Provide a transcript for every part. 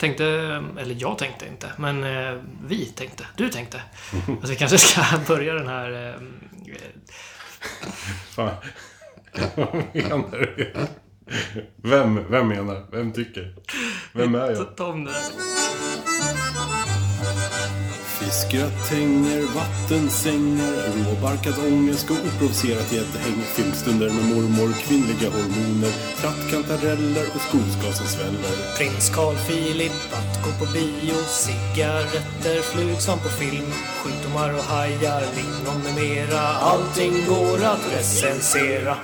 tänkte, eller jag tänkte inte, men eh, vi tänkte, du tänkte, att vi kanske ska börja den här... eh, Fan. Vad menar du? Vem, vem menar? Vem tycker? Vem är ta, jag? ta om det där. Fiskgratänger, vattensängar, råbarkad ångest och oprovocerat gäddhäng. Filmstunder med mormor, kvinnliga hormoner, trattkantareller och skogsgas som sväller. Prins Carl Philip, att gå på bio, cigaretter, flug som på film, sjukdomar och hajar, lingon med mera. Allting går att recensera.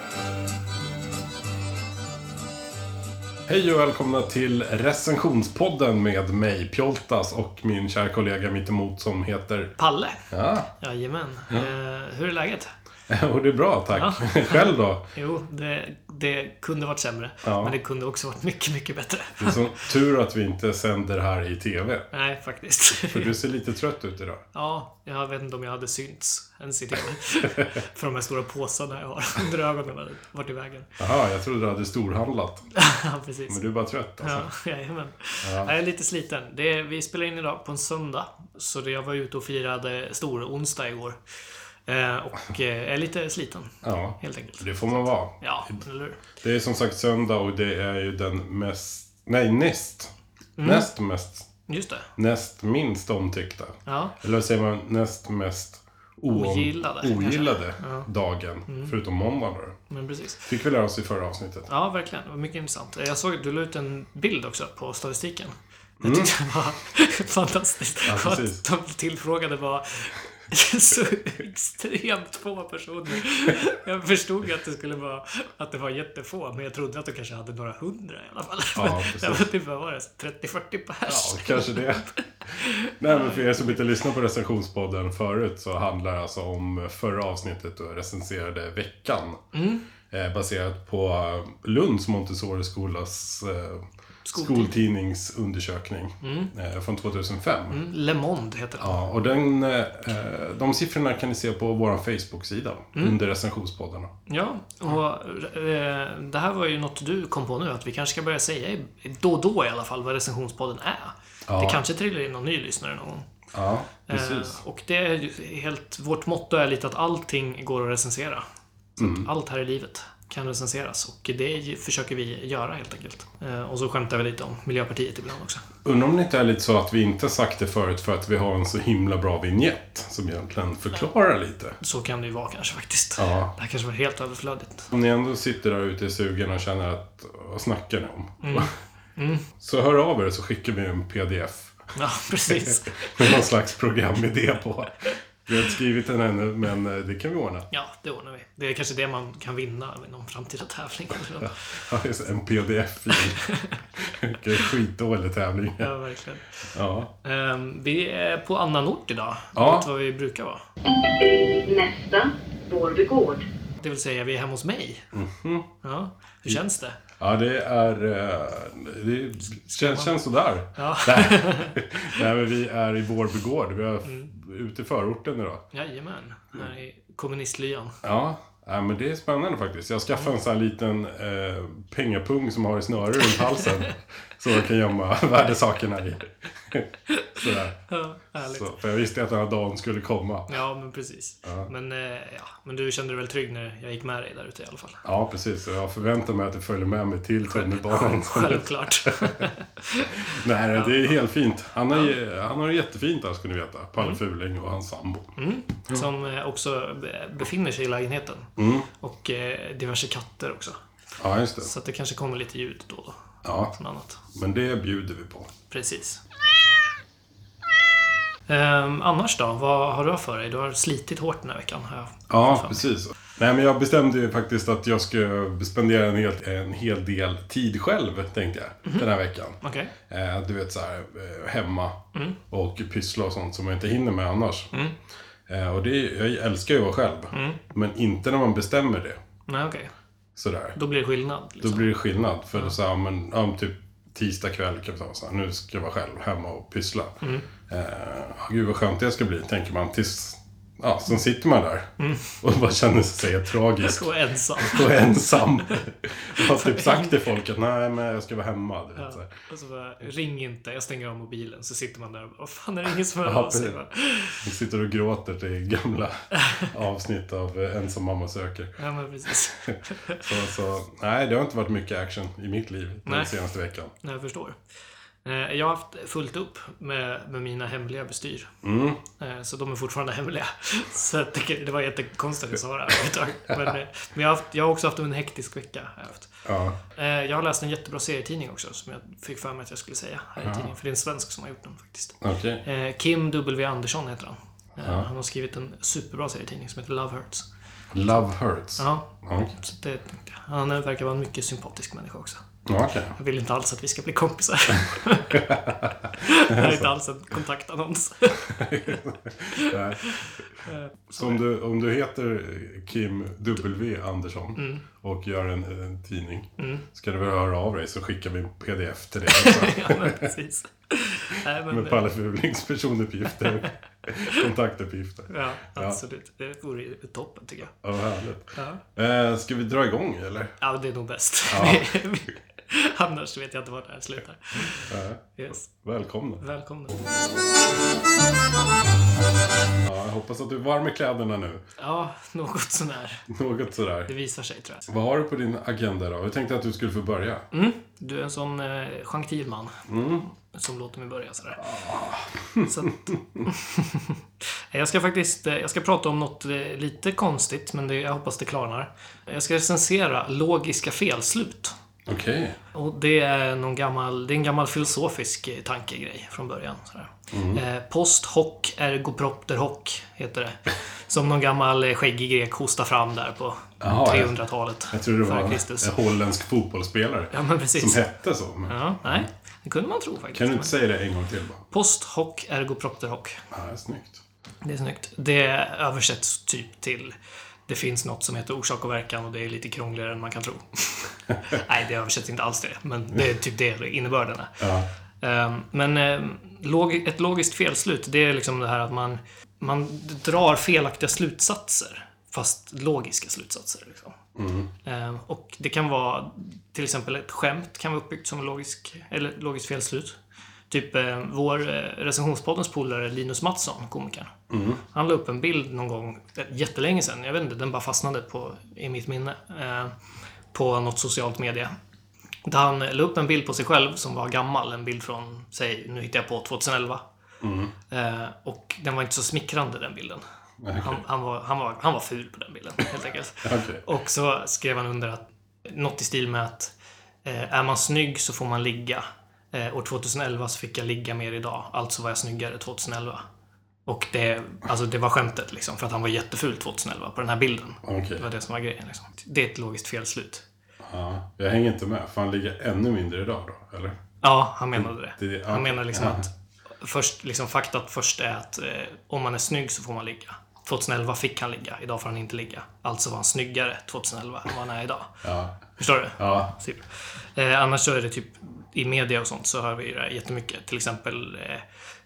Hej och välkomna till recensionspodden med mig, Pjoltas, och min kära kollega mittemot som heter... Palle. Ja, Jajamän. Eh, hur är läget? och det är bra, tack. Själv då? Jo, det, det kunde varit sämre. Ja. Mm. Men det kunde också varit mycket, mycket bättre. Det är sån tur att vi inte sänder här i TV. Nej, faktiskt. För du ser lite trött ut idag. Ja, jag vet inte om jag hade synts ens i TV. För de här stora påsarna jag har under ögonen har varit i vägen. Jaha, jag trodde du hade storhandlat. Ja, precis. Men du är bara trött alltså. Ja, jajamän. Jag är lite sliten. Det är, vi spelar in idag på en söndag. Så det, jag var ute och firade stor onsdag igår. Eh, och eh, är lite sliten, Ja. helt enkelt. Det får man vara. Ja, eller hur? Det är som sagt söndag och det är ju den mest... Nej, näst. Mm. Näst mest. Just det. Näst minst omtyckta. Ja, Eller vad säger man? Näst mest oom, Ogillade, kanske. ogillade dagen. Förutom måndagen då. men precis. Fick vi lära oss i förra avsnittet. Ja, verkligen. Det var mycket intressant. Jag såg att du la ut en bild också på statistiken. Det tyckte jag var fantastiskt. Mm. Ja, Och precis. att de tillfrågade var så extremt få personer. Jag förstod att det skulle vara att det var jättefå, men jag trodde att de kanske hade några hundra i alla fall. Ja, Men det var precis. typ, vad var det? 30-40 pers? Ja, kanske det. Nej, men för er som inte lyssnar på recensionspodden förut så handlar det alltså om förra avsnittet och recenserade veckan. Mm. Eh, baserat på eh, Lunds Montessori-skolas eh, skoltidningsundersökning eh, från 2005. Mm, Le Monde heter det. Ja, och den, eh, eh, de siffrorna kan ni se på vår Facebook-sida Mm. under recensionspoddarna. Ja, och eh, det här var ju något du kom på nu, att vi kanske ska börja säga i- då och då i alla fall vad recensionspodden är. Ja. Det kanske trillar in någon ny lyssnare någon gång. Ja, precis. Eh, och det är ju helt, vårt motto är lite att allting går att recensera. Så Mm. att allt här i livet kan recenseras och det ju- försöker vi göra helt enkelt. Eh, och så skämtar vi lite om Miljöpartiet ibland också. Undrar om det inte är lite så att vi inte sagt det förut för att vi har en så himla bra vignett som egentligen förklarar lite. Så kan det ju vara kanske faktiskt. Ja. Det här kanske var helt överflödigt. Om ni ändå sitter där ute i sugen och känner att vad snackar ni om? Så hör av er så skickar vi en pdf Ja, precis. med någon slags programidé på. Vi har inte skrivit den ännu, men eh, det kan vi ordna. Ja, det ordnar vi. Det är kanske det man kan vinna vid någon framtida tävling. eller något. Ja, just det, En pdf-fil. Vilken skitdålig tävling. Ja, verkligen. Ja. Ehm, vi är på annan ort idag. Ja. Mot vad vi brukar vara. Nästa, Vårby gård. Det vill säga, vi är hemma hos mig. Mhm. Ja. Hur känns det? Ja, det är... eh, Det känns, känns sådär. Ja. Nej. Nej, men vi är i Vårby gård. Vi är Mm. ute i förorten idag. Jajamän. Här i kommunistlyan. Ja. Nej, men det är spännande faktiskt. Jag skaffade en sån här liten eh, pengapung som har i snöre runt halsen. så jag kan gömma värdesakerna i. Sådär. Ja, härligt. Så, för jag visste att den här dagen skulle komma. Ja, men precis. Men, eh, ja. men du kände dig väl trygg när jag gick med dig där ute i alla fall? Ja, precis. Och jag förväntar mig att du följer med mig till tunnelbanan. Självklart. Nej, det är helt fint. Han har, ju- han har det jättefint där, ska ni veta. Mm. Palle Fuling och hans sambo. Som eh, också be- befinner sig i lägenheten. Mm. Och eh, diverse katter också. Ja, just det. Så att det kanske kommer lite ljud då och då. Ja, Från annat. men det bjuder vi på. Precis. Ehm, annars då? Vad har du för dig? Du har slitit hårt den här veckan. Har jag. Ja, precis. Nej, men jag bestämde ju faktiskt att jag ska spendera en hel, en hel del tid själv, tänkte jag, den här veckan. Okej. Eh, du vet så här, eh, hemma och pyssla och sånt som jag inte hinner med annars. Eh, och det, är- jag älskar ju att vara själv, men inte när man bestämmer det. Nej, okej. Sådär. Då blir det skillnad. Då Liksom. blir det skillnad. För så här, men, ja, men typ tisdag kväll kan vi säga så här, nu Mm. ska jag vara själv hemma och pyssla. Eh, gud vad skönt det ska bli, tänker man. Tills ja, sen sitter man där Mm. och bara känner sig tragisk Och ensam. och ensam. Jag har typ sagt till folk att nej, men jag ska vara hemma. Du vet, så här. Och så bara, ring inte, jag stänger av mobilen. Så sitter man där och bara, vad fan är det ingen som hör Ja, av sig? precis. va? Jag sitter och gråter till gamla avsnitt av eh, Ensam mamma söker. Ja, men precis. Så, så, nej, det har inte varit mycket action i mitt liv den Nej. senaste veckan. Nej, Jag förstår. Eh, Jag har haft fullt upp med, med mina hemliga bestyr. Mm. Eh, Så de är fortfarande hemliga. Så jag tycker, det var jättekonstigt att jag sa det här överhuvudtaget. Men, eh, men jag, har haft, jag har också haft en hektisk vecka. har jag haft. Ja, Eh, Jag har läst en jättebra serietidning också, som jag fick för mig att jag skulle säga här i tidningen. För det är en svensk som har gjort den faktiskt. okej. Eh, Kim W Andersson heter han. Eh, Han har skrivit en superbra serietidning som heter Love Hurts. Love hurts. Ja, Ja, så det tänkte jag. Han verkar vara en mycket sympatisk människa också. ja, okej. Jag vill inte alls att vi ska bli kompisar. det här är inte alls en kontaktannons. Nej. Eh, Så om du, om du heter Kim W Andersson Mm. och gör en, en tidning, ska du väl höra av dig så skickar vi en pdf till dig. Alltså, ja, men precis. Nej, men, eh, med Palles personuppgifter och kontaktuppgifter. ja, absolut. Det vore ju toppen tycker jag. Ja, vad härligt. Eh, ska vi dra igång eller? Ja, det är nog bäst. Annars vet jag inte var det här slutar. Yes. Välkomna. Välkomna. Ja, jag hoppas att du är varm i kläderna nu. Ja, något sånär. Något Det sådär. visar sig tror jag. Vad har du på din agenda då? Jag tänkte att du skulle få börja. Mm. Du är en sån eh, gentilman. Mm. Som låter mig börja sådär. Ah. Så att, jag ska faktiskt eh, jag ska prata om något eh, lite konstigt, men det, jag hoppas det klarnar. Jag ska recensera logiska felslut. Okej. Och det är, någon gammal, det är en gammal filosofisk eh, tankegrej från början. Sådär. Mm. Eh, post hoc ergo propter hoc, heter det. Som någon gammal eh, skäggig grek hostade fram där på Jaha, ja. 300-talet. Jag tror det var före en, Kristus. en holländsk fotbollsspelare Ja, men precis. som hette så. Men Ja, nej, det kunde man tro faktiskt. Kan du inte säga det en gång till bara? Post hoc ergo propter hoc. Ja, snyggt. Det är snyggt. Det översätts typ till det finns något som heter orsak och verkan och det är lite krångligare än man kan tro. Nej, det översätts inte alls till det, men det är typ det innebörden är. Ja. Ehm, Men ehm, log- ett logiskt felslut, det är liksom det här att man, man drar felaktiga slutsatser. Fast logiska slutsatser. Liksom. Ehm, Och det kan vara till exempel ett skämt kan vara uppbyggt som logisk, eller logiskt felslut. Typ eh, vår eh, recensionspoddens polare Linus Mattsson, komikern. Han la upp en bild någon gång eh, jättelänge sedan. Jag vet inte, den bara fastnade på, i mitt minne. eh, På något socialt media. Där han la upp en bild på sig själv som var gammal. En bild från, säg, nu hittar jag på 2011. Eh, och den var inte så smickrande den bilden. Han, han, var, han, var, han var ful på den bilden helt enkelt. Okej. Och så skrev han under att något i stil med att eh, är man snygg så får man ligga. Eh, år 2011 så fick jag ligga mer idag. Alltså var jag snyggare 2011. Och det, alltså det var skämtet liksom. För att han var jätteful 2011 på den här bilden. Okej. Det var det som var grejen. Liksom. Det är ett logiskt felslut. Ja, jag hänger inte med. För han ligger ännu mindre idag då, eller? Ja, han menade det. Det- han menar liksom ja. att först, liksom faktat först är att eh, om man är snygg så får man ligga. 2011 fick han ligga, idag får han inte ligga. Alltså var han snyggare 2011 än vad han är idag. Ja. Förstår du? Ja. Typ. Eh, annars så är det typ i media och sånt så hör vi ju det här jättemycket. Till exempel eh,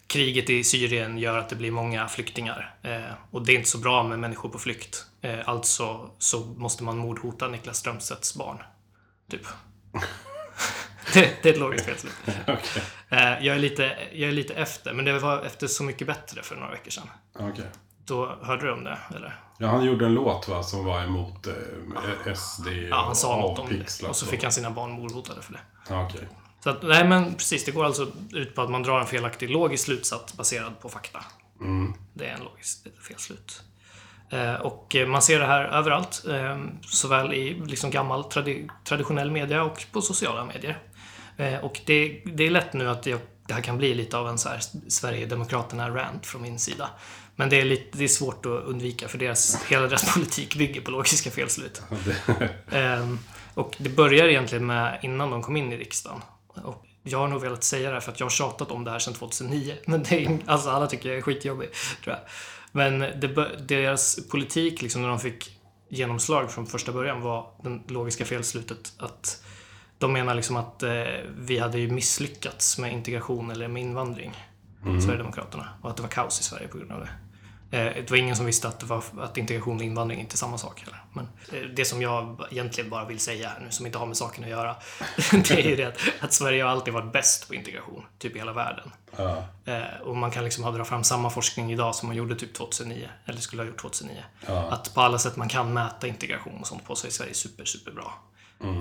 kriget i Syrien gör att det blir många flyktingar eh, och det är inte så bra med människor på flykt. Eh, alltså så måste man mordhota Niklas Strömstedts barn. Typ. det, det är ett logiskt felslut. Okej. Eh, jag, är lite, jag är lite efter, men det var efter Så mycket bättre för några veckor sedan. Okej. Då hörde du om det, eller? Ja, han gjorde en låt va, som var emot eh, SD Ja, han sa något om det. avpixlat Och så fick han sina barn mordhotade för det. Ja, okej. Så att, nej men precis, det går alltså ut på att man drar en felaktig logisk slutsats baserad på fakta. Mm. Det är en logisk felslut. Eh, och eh, man ser det här överallt, eh, såväl i liksom gammal tradi- traditionell media och på sociala medier. Eh, och det, det är lätt nu att jag, det här kan bli lite av en så här Sverigedemokraterna-rant från min sida. Men det är, lite, det är svårt att undvika för deras, hela deras politik bygger på logiska felslut. Ehm, Och det börjar egentligen med innan de kom in i riksdagen. Och jag har nog velat säga det här för att jag har tjatat om det här sedan 2009. Men det är, alltså alla tycker jag är skitjobbig, tror jag. Men det, bör- deras politik, liksom, när de fick genomslag från första början, var den logiska felslutet att de menar liksom att eh, vi hade ju misslyckats med integration eller med invandring, Sverigedemokraterna. Och att det var kaos i Sverige på grund av det. Eh, Det var ingen som visste att, det var, att integration och invandring inte är samma sak heller. Men eh, det som jag egentligen bara vill säga här nu, som inte har med saken att göra, det är ju det att, att Sverige har alltid varit bäst på integration, typ i hela världen. Ja. Eh, Och man kan liksom ha dra fram samma forskning idag som man gjorde typ 2009, eller skulle ha gjort 2009. Att på alla sätt man kan mäta integration och sånt på så är Sverige super, superbra.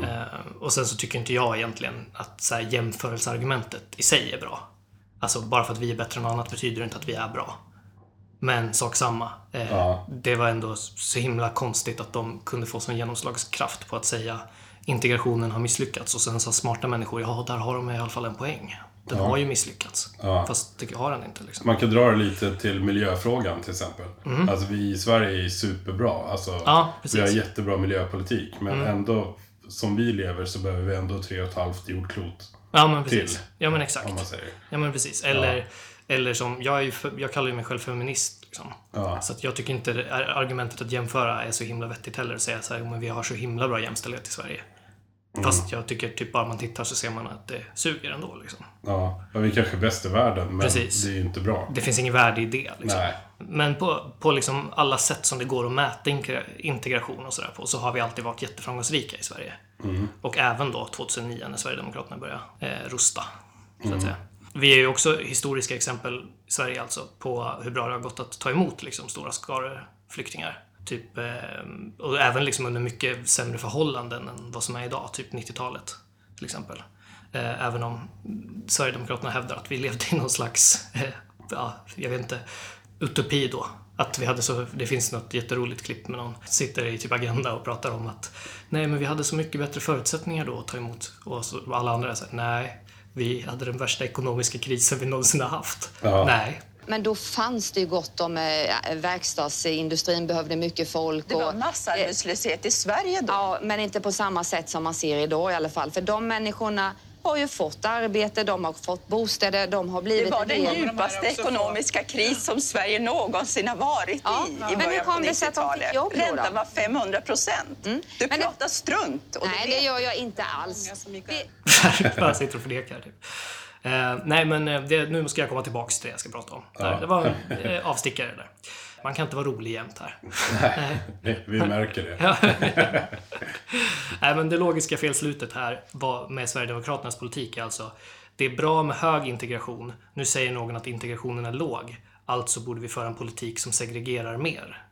Eh, Och sen så tycker inte jag egentligen att så här, jämförelseargumentet i sig är bra. Alltså bara för att vi är bättre än annat betyder det inte att vi är bra. Men sak samma. Eh, Ja. Det var ändå så himla konstigt att de kunde få sån genomslagskraft på att säga integrationen har misslyckats och sen sa smarta människor, ja där har de i alla fall en poäng. Den har ju misslyckats. Fast det har den inte liksom. Man kan dra det lite till miljöfrågan till exempel. Alltså vi i Sverige är superbra. Alltså, Mhm. Ja, vi har precis. Mm. jättebra miljöpolitik. Men ändå, som vi lever så behöver vi ändå tre och ett halvt jordklot. Ja men precis. till, Ja men Om man exakt. säger. Ja men precis. Eller, eller som, jag, är ju, fe- jag kallar ju mig själv feminist. Liksom. Ja. Så att jag tycker inte det, är- argumentet att jämföra är så himla vettigt heller. Att säga så här, "Jo, men vi har så himla bra jämställdhet i Sverige. Fast jag tycker typ bara man tittar så ser man att det suger ändå. Liksom. Ja, ja, vi kanske är bäst i världen, men Precis. det är ju inte bra. Det finns ingen värde i det. Liksom. Nej. Men på, på liksom alla sätt som det går att mäta inkre- integration och sådär på så har vi alltid varit jätteframgångsrika i Sverige. Och även då 2009 när Sverigedemokraterna började eh, rusta. Så att säga. Vi är ju också historiska exempel, Sverige alltså, på hur bra det har gått att ta emot liksom, stora skaror flyktingar. Typ, eh, och även liksom under mycket sämre förhållanden än vad som är idag, typ 90-talet till exempel. Eh, även om Sverigedemokraterna hävdar att vi levde i någon slags, eh, ja, jag vet inte, utopi då. Att vi hade så, det finns något jätteroligt klipp med någon sitter i typ Agenda och pratar om att nej men vi hade så mycket bättre förutsättningar då att ta emot och så, och alla andra är så här, nej vi hade den värsta ekonomiska krisen vi någonsin har haft. Nej. Men då fanns det ju gott om eh, verkstadsindustrin behövde mycket folk. Det var och- eh, massarbetslöshet i Sverige då. Ja, men inte på samma sätt som man ser idag i alla fall. För de människorna har ju fått arbete, de har fått bostäder, de har blivit Det var den en del- djupaste ekonomiska kris som Sverige någonsin har varit Ja, i i men början hur kom på det sig att de fick 90-talet. jobb då då? Räntan var 500 procent. Du Men det- pratar strunt. Och Nej, det det vet gör jag inte alls. Det- Bara sitter och förnekar. Typ. Eh, nej, men eh, det, nu ska jag komma tillbaks till det jag ska prata om. Där, Det var en eh, avstickare där. Man kan inte vara rolig jämt här. Nej, vi märker det. Nej, men det logiska felslutet här var med Sverigedemokraternas politik är alltså det är bra med hög integration. Nu säger någon att integrationen är låg. Alltså borde vi föra en politik som segregerar mer.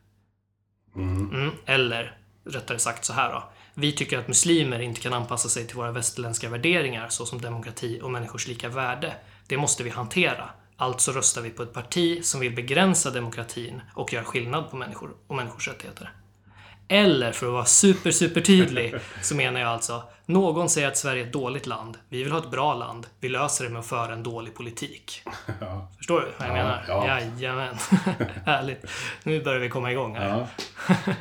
Mm, eller rättare sagt så här då. Vi tycker att muslimer inte kan anpassa sig till våra västerländska värderingar såsom demokrati och människors lika värde. Det måste vi hantera. Alltså röstar vi på ett parti som vill begränsa demokratin och göra skillnad på människor och människors rättigheter. Eller för att vara super, super tydlig så menar jag alltså, någon säger att Sverige är ett dåligt land. Vi vill ha ett bra land. Vi löser det med att föra en dålig politik. Förstår du vad jag menar? ja. Jajamän. Härligt. Nu börjar vi komma igång här. Ja.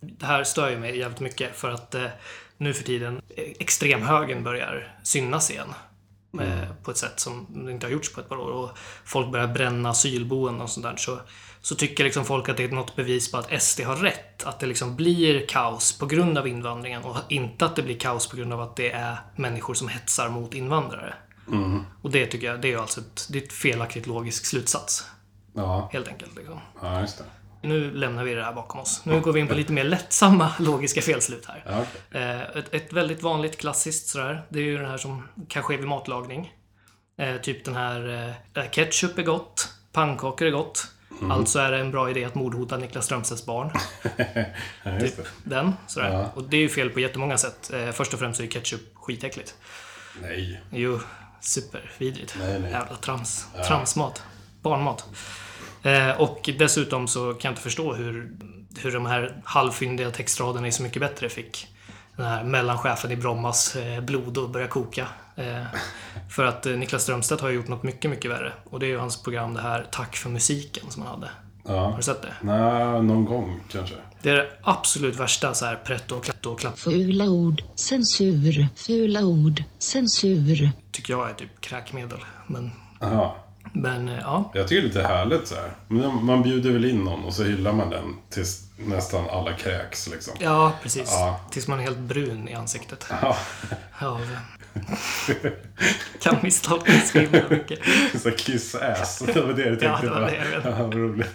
Det här stör ju mig jävligt mycket för att eh, nu för tiden eh, extremhögern börjar synas igen. Eh, på ett sätt som det inte har gjorts på ett par år. Och folk börjar bränna asylboenden och sånt där. Så, så tycker liksom folk att det är något bevis på att SD har rätt. Att det liksom blir kaos på grund av invandringen och inte att det blir kaos på grund av att det är människor som hetsar mot invandrare. Och det tycker jag, det är ju alltså ett, det är ett felaktigt logisk slutsats. Ja. Helt enkelt liksom. ja, just det. Nu lämnar vi det här bakom oss. Nu går vi in på lite mer lättsamma logiska felslut här. Ja, Eh, Ett, ett väldigt vanligt klassiskt sådär, det är ju den här som kan ske vid matlagning. Eh, typ den här, eh, ketchup är gott, pannkakor är gott. Alltså är det en bra idé att mordhota Niklas Strömstedts barn. ja, just det. Den, sådär. Och det är ju fel på jättemånga sätt. Eh, först och främst är ju ketchup skitäckligt. Nej. Jo, supervidrigt. Nej, nej. Jävla trams. Tramsmat. Barnmat. Eh, och dessutom så kan jag inte förstå hur, hur de här halvfyndiga textraderna i Så mycket bättre fick den här mellanchefen i Brommas eh, blod att börja koka. Eh, för att eh, Niklas Strömstedt har ju gjort något mycket, mycket värre. Och det är ju hans program det här Tack för musiken som han hade. Har Ja. du sett det? Nej, någon gång kanske. Det är det absolut värsta så här pretto och klatto och klapp Fula ord, censur, fula ord, censur. tycker jag är typ kräkmedel. Men Aha. Men eh, ja, Jag tycker det är lite härligt så här. Men Man bjuder väl in någon och så hyllar man den tills nästan alla kräks liksom. ja precis. Ja. Tills man är helt brun i ansiktet. Ja. Av... kan misstolkas så himla mycket. Så här, kiss ass. Det var det du tänkte Ja, det var va? det jag vet. Ja, vad roligt.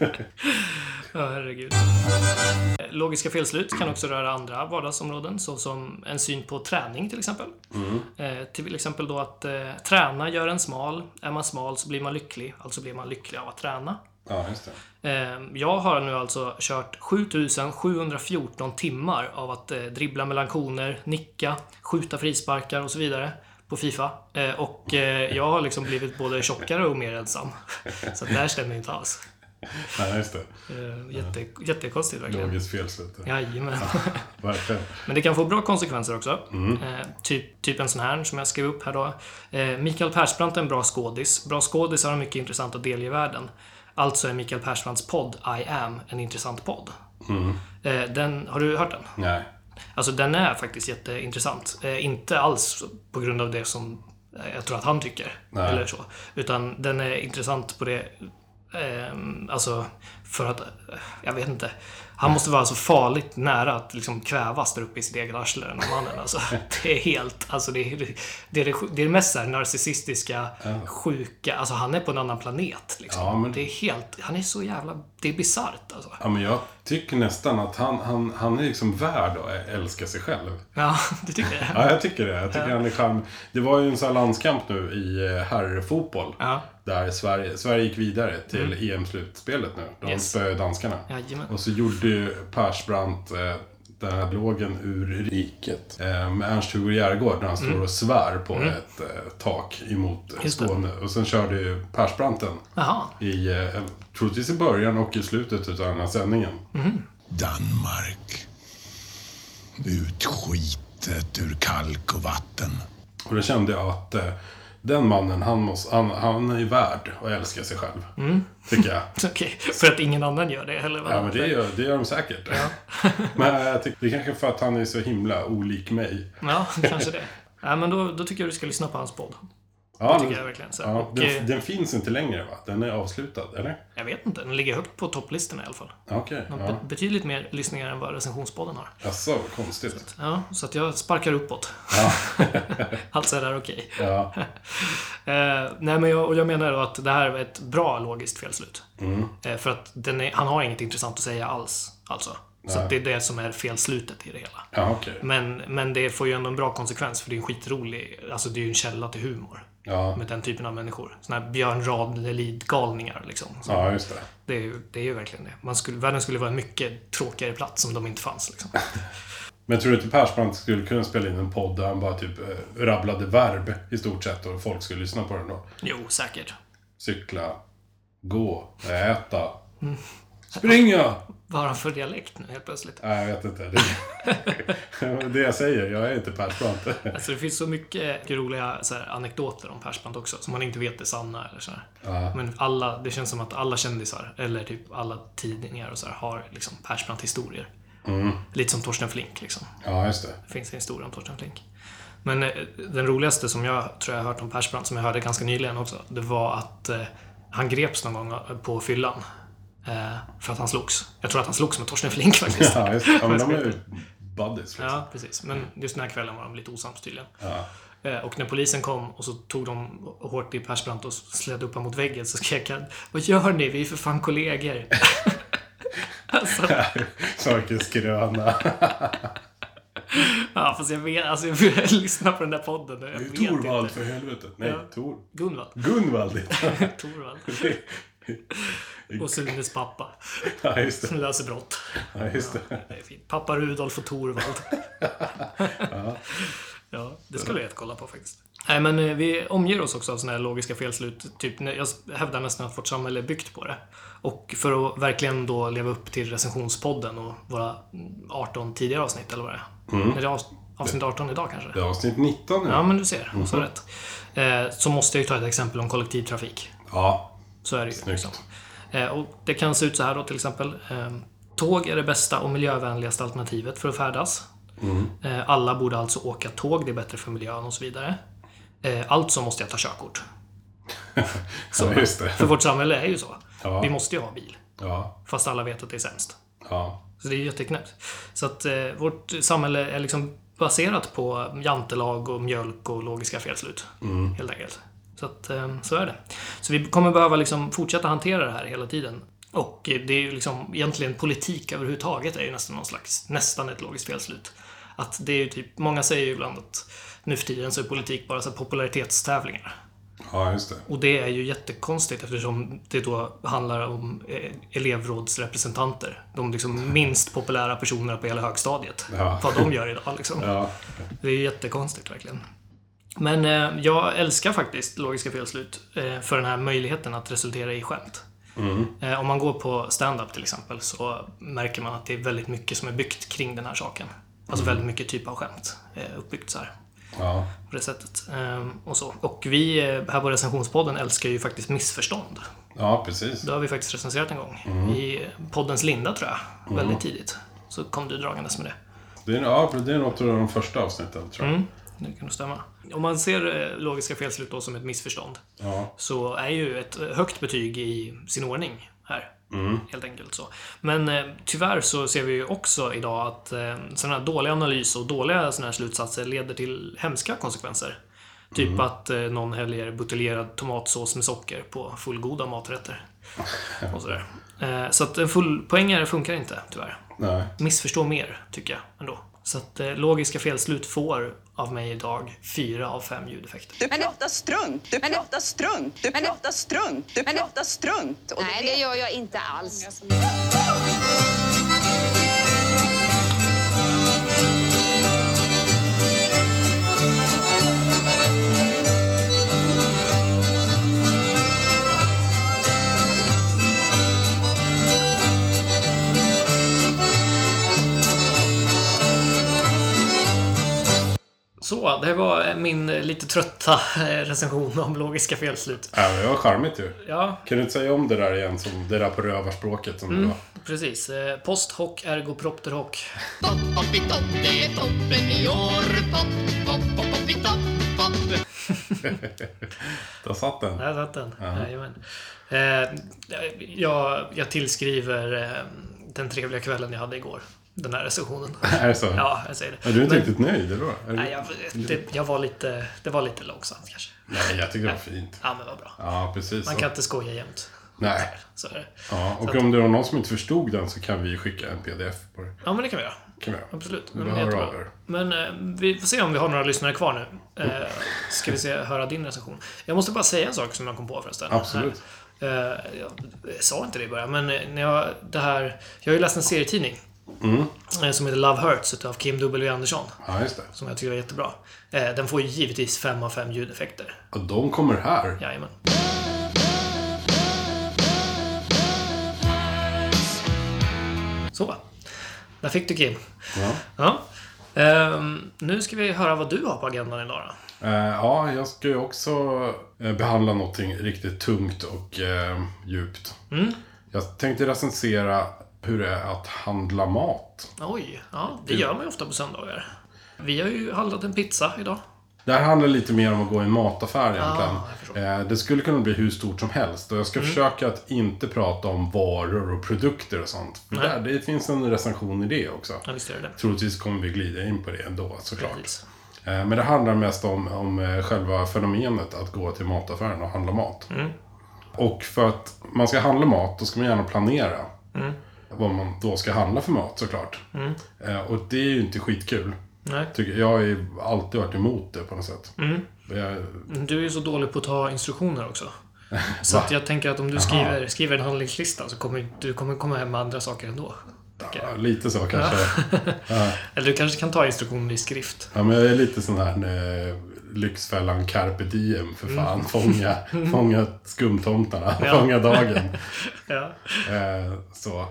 Ja, herregud. Logiska felslut kan också röra andra vardagsområden såsom en syn på träning till exempel. Eh, till exempel då att eh, träna gör en smal. Är man smal så blir man lycklig. Alltså blir man lycklig av att träna. Ja, just det. Eh, jag har nu alltså kört 7714 timmar av att eh, dribbla mellan koner, nicka, skjuta frisparkar och så vidare på Fifa. Eh, och eh, jag har liksom blivit både tjockare och mer ensam. Så att det här stämmer inte alls. Nej, just det. Eh, jätte, jättekonstigt verkligen. Logiskt felslut. Jajamän. Verkligen. Men det kan få bra konsekvenser också. Eh, typ, typ en sån här som jag skrev upp här då. Eh, Mikael Persbrandt är en bra skådis. Bra skådisar har mycket intressant att delge världen. Alltså är Mikael Persbrandts podd I am en intressant podd. Eh, den, har du hört den? Nej. Alltså den är faktiskt jätteintressant. Eh, inte alls på grund av det som eh, jag tror att han tycker. Nej. Eller så. Utan den är intressant på det... Eh, alltså för att... eh, Jag vet inte. Han måste vara så farligt nära att liksom kvävas där uppe i sitt eget arsle, den här mannen. Alltså, det är helt... Alltså det, är, det, är det, sj- det är det mest så här narcissistiska, sjuka... Alltså han är på en annan planet. Liksom. Ja, men- Det är helt... Han är så jävla... Det är bisarrt alltså. Ja, men jag tycker nästan att han, han, han är liksom värd att älska sig själv. Ja, du tycker det? Ja, jag tycker det. Jag tycker han är charm. Det var ju en sån här landskamp nu i eh, herrfotboll. Ja. Mm. Där Sverige, Sverige gick vidare till EM-slutspelet nu. De Yes. spöade danskarna. Jajamän. Och så gjorde ju Persbrandt eh, den här lågen ur riket. Eh, med Ernst-Hugo Järgård när han står och svär på ett eh, tak emot eh, Mm. Just det. Skåne. Och sen körde ju Persbrandt den. Jaha. I, eh, troligtvis i början och i slutet utav den här sändningen. Danmark. Utskitet ur kalk och vatten. Och då kände jag att eh, den mannen, han, måste, han, han är ju värd att älska sig själv. Mm. Tycker jag. Okej, för att ingen annan gör det heller? va? Ja, men det gör, det gör de säkert. men eh, jag tycker, det är kanske för att han är så himla olik mig. Ja, kanske det. Nej, men då, då tycker jag du ska lyssna på hans podd. Ja, tycker men- jag verkligen så. Ja, Och, eh, den, den finns inte längre va? Den är avslutad, eller? Jag vet inte, den ligger högt på topplistorna i alla fall. Ja, Okej. Den har Ja. bet- betydligt mer lyssningar än vad recensionspodden har. Jaså, vad konstigt. Ja, så att jag sparkar uppåt. alltså är det här okej. Ja, Eh, nej, men jag, och jag menar då att det här är ett bra logiskt felslut. Mm. Eh, för att den är, han har inget intressant att säga alls. Alltså. Så att det är det som är felslutet i det hela. ja okej. Men, men det får ju ändå en bra konsekvens för det är en skitrolig, alltså det är ju en källa till humor. Ja. Med den typen av människor. Såna här Björn Ranelid-galningar liksom. Så ja, just det. det, är ju, det är ju verkligen det. Man skulle, världen skulle vara en mycket tråkigare plats om de inte fanns liksom. Men tror du inte Persbrandt skulle kunna spela in en podd där han bara typ eh, rabblade verb i stort sett och folk skulle lyssna på den då? Jo, säkert. Cykla, gå, äta, springa! Vad har han för dialekt nu helt plötsligt? Nej, jag vet inte. Det, det jag säger, jag är inte Persbrandt. Alltså det finns så mycket roliga så här, anekdoter om Persbrandt också, som man inte vet är sanna eller sådär. Men alla, det känns som att alla kändisar, eller typ alla tidningar och så här, har liksom Persbrandt-historier. Mm. Lite som Torsten Flink liksom. Ja, just det. Det finns en historia om Torsten Flink. Men eh, den roligaste som jag tror jag har hört om Persbrandt, som jag hörde ganska nyligen också, det var att eh, han greps någon gång på fyllan. Eh, för att han slogs. Jag tror att han slogs med Torsten Flink faktiskt. Ja, just det. Ja, men de är ju buddies. Liksom. Ja, precis. Men just den här kvällen var de lite osams tydligen. Eh, Och när polisen kom och så tog de hårt i Persbrandt och släde upp honom mot väggen så skrek han Vad gör ni? Vi är för fan kollegor. alltså, Sarkis gröna. ja, fast jag vet, alltså jag vill lyssna på den där podden. Jag vet Torvald inte. för helvete. Nej, Ja. Tor. Gunvald. Gunvald. Torvald. Och Sunes pappa. Ja, just det. Som löser brott. Ja, just det. Det är fint. Pappa Rudolf och Torvald. ja, det skulle jag kolla på faktiskt. Nej, men eh, vi omger oss också av sådana här logiska felslut. Typ, när- jag hävdar nästan att vårt samhälle är byggt på det. Och för att verkligen då leva upp till recensionspodden och våra 18 tidigare avsnitt, eller vad det är. Är det avs- avsnitt 18 idag kanske? Det är avsnitt 19 nu. Ja, Ja. men du ser. Så rätt. Eh, så måste jag ju ta ett exempel om kollektivtrafik. Så är det ju. Liksom. Eh, och det kan se ut så här då till exempel. Eh, tåg är det bästa och miljövänligaste alternativet för att färdas. Eh, alla borde alltså åka tåg, det är bättre för miljön och så vidare. Eh, alltså måste jag ta körkort. Ja, just det. För vårt samhälle är ju så. Ja. Vi måste ju ha bil. Ja, Fast alla vet att det är sämst. ja, Så det är jätteknäppt. Så att eh, vårt samhälle är liksom baserat på jantelag och mjölk och logiska felslut. Helt enkelt. Så att eh, så är det. Så vi kommer behöva liksom fortsätta hantera det här hela tiden. Och eh, det är ju liksom egentligen politik överhuvudtaget är ju nästan någon slags, nästan ett logiskt felslut. Att det är ju typ, många säger ju ibland att nu för tiden så är politik bara så här popularitetstävlingar. ja, just det. Och det är ju jättekonstigt eftersom det då handlar om eh, elevrådsrepresentanter. De liksom minst populära personerna på hela högstadiet. Ja. Vad de gör idag liksom. Ja, Det är jättekonstigt verkligen. Men eh, jag älskar faktiskt logiska felslut eh, för den här möjligheten att resultera i skämt. Mm. Eh, om man går på stand-up till exempel så märker man att det är väldigt mycket som är byggt kring den här saken. Alltså Mm. väldigt mycket typ av skämt eh, uppbyggt så här ja, på det sättet. Ehm, Och, så. och vi eh, här på recensionspodden älskar ju faktiskt missförstånd. ja precis. Det har vi faktiskt recenserat en gång. I poddens linda tror jag. Väldigt tidigt. Så kom du dragandes med det. Det är, ja, det är något av de första avsnitten, tror jag. Det kan nog stämma. Om man ser eh, logiska felslut då som ett missförstånd. Ja, Så är ju ett eh, högt betyg i sin ordning här. Helt enkelt så. Men eh, tyvärr så ser vi ju också idag att eh, sådana här dåliga analyser och dåliga sådana här slutsatser leder till hemska konsekvenser. Typ att eh, någon häller buteljerad tomatsås med socker på fullgoda maträtter. Och sådär. Eh, så att en fullpoängare funkar inte, tyvärr. nej. Missförstå mer, tycker jag ändå. Så att eh, logiska felslut får av mig idag fyra av fem ljudeffekter. Du Men det- pratar strunt, du Men det- pratar strunt, du Men det- pratar strunt, du Men det- pratar strunt. Och Nej, det gör jag inte alls. Så, det var min eh, lite trötta eh, recension om logiska felslut. Ja, Äh, men det var charmigt ju. Ja, Kan du inte säga om det där igen, som det där på rövarspråket Mm. som det var? precis. Eh, Post hoc ergo propter hoc. Där satt den. Där satt den. Jajamän. Eh, jag, jag tillskriver eh, den trevliga kvällen jag hade igår. Den här recensionen. Är det så? Ja, jag säger det. Är typ- du inte Men- riktigt nöjd, eller vad? Är du- Nej, jag, det, jag var lite, det var lite långsamt kanske. Nej, jag tycker det var fint. Ja, men vad bra. Ja, precis. Man kan inte skoja jämt. Nej. Så är det. Ja, och om det var någon som inte förstod den så kan vi skicka en pdf på det. Ja, men det kan vi göra. Kan vi göra. Absolut. Vi Men, hör jättebra. av er. men eh, vi får se om vi har några lyssnare kvar nu. Eh, ska vi se, höra din recension. Jag måste bara säga en sak som jag kom på förresten. Absolut. Eh, jag sa inte det i början, men eh, när jag, det här, jag har ju läst en serietidning. Mm. eh, Som heter Love Hurts utav Kim W Andersson. Ja, just det. Som jag tycker är jättebra. Eh, Den får ju givetvis fem av fem ljudeffekter. Och de kommer här. Jajamän. Så. Där fick du Kim. Ja. Ja. Ehm, nu ska vi höra vad du har på agendan idag då. Eh, ja, jag ska ju också eh, behandla någonting riktigt tungt och eh, djupt. Mm. Jag tänkte recensera hur det är att handla mat. Oj, ja, det gör man ju ofta på söndagar. Vi har ju handlat en pizza idag. Det här handlar lite mer om att gå i en mataffär egentligen. jag förstår. Mm. eh, det skulle kunna bli hur stort som helst. Och jag ska försöka att inte prata om varor och produkter och sånt. För där, det finns en recension i det också. Ja, visst är det det. Troligtvis kommer vi glida in på det ändå såklart. Precis. Eh, Men det handlar mest om, om eh, själva fenomenet att gå till mataffären och handla mat. Mm. Och för att man ska handla mat, då ska man gärna planera. Mm. Vad man då ska handla för mat såklart. Eh, Och det är ju inte skitkul. Nej, Tycker, jag har ju alltid varit emot det på något sätt. Jag, du är ju så dålig på att ta instruktioner också. Så att jag tänker att om du skriver, skriver en handlingslista så kommer du kommer komma hem med andra saker ändå. tänker jag. ja, lite så kanske. Eller du kanske kan ta instruktioner i skrift. Ja, men jag är lite sån här eh, Lyxfällan Carpe Diem för fan. Fånga, fånga skumtomtarna, fånga dagen. Ja. Eh, så.